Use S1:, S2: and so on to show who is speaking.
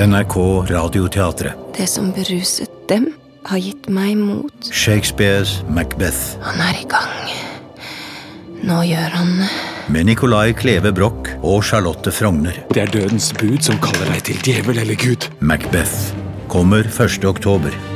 S1: NRK Radioteatret.
S2: Det som beruset dem, har gitt meg mot.
S1: Shakespeares Macbeth
S2: Han er i gang. Nå gjør han det.
S1: med Nicolai Kleve Broch og Charlotte Frogner.
S3: Det er dødens bud som kaller deg til djevel eller gud.
S1: Macbeth kommer 1. oktober.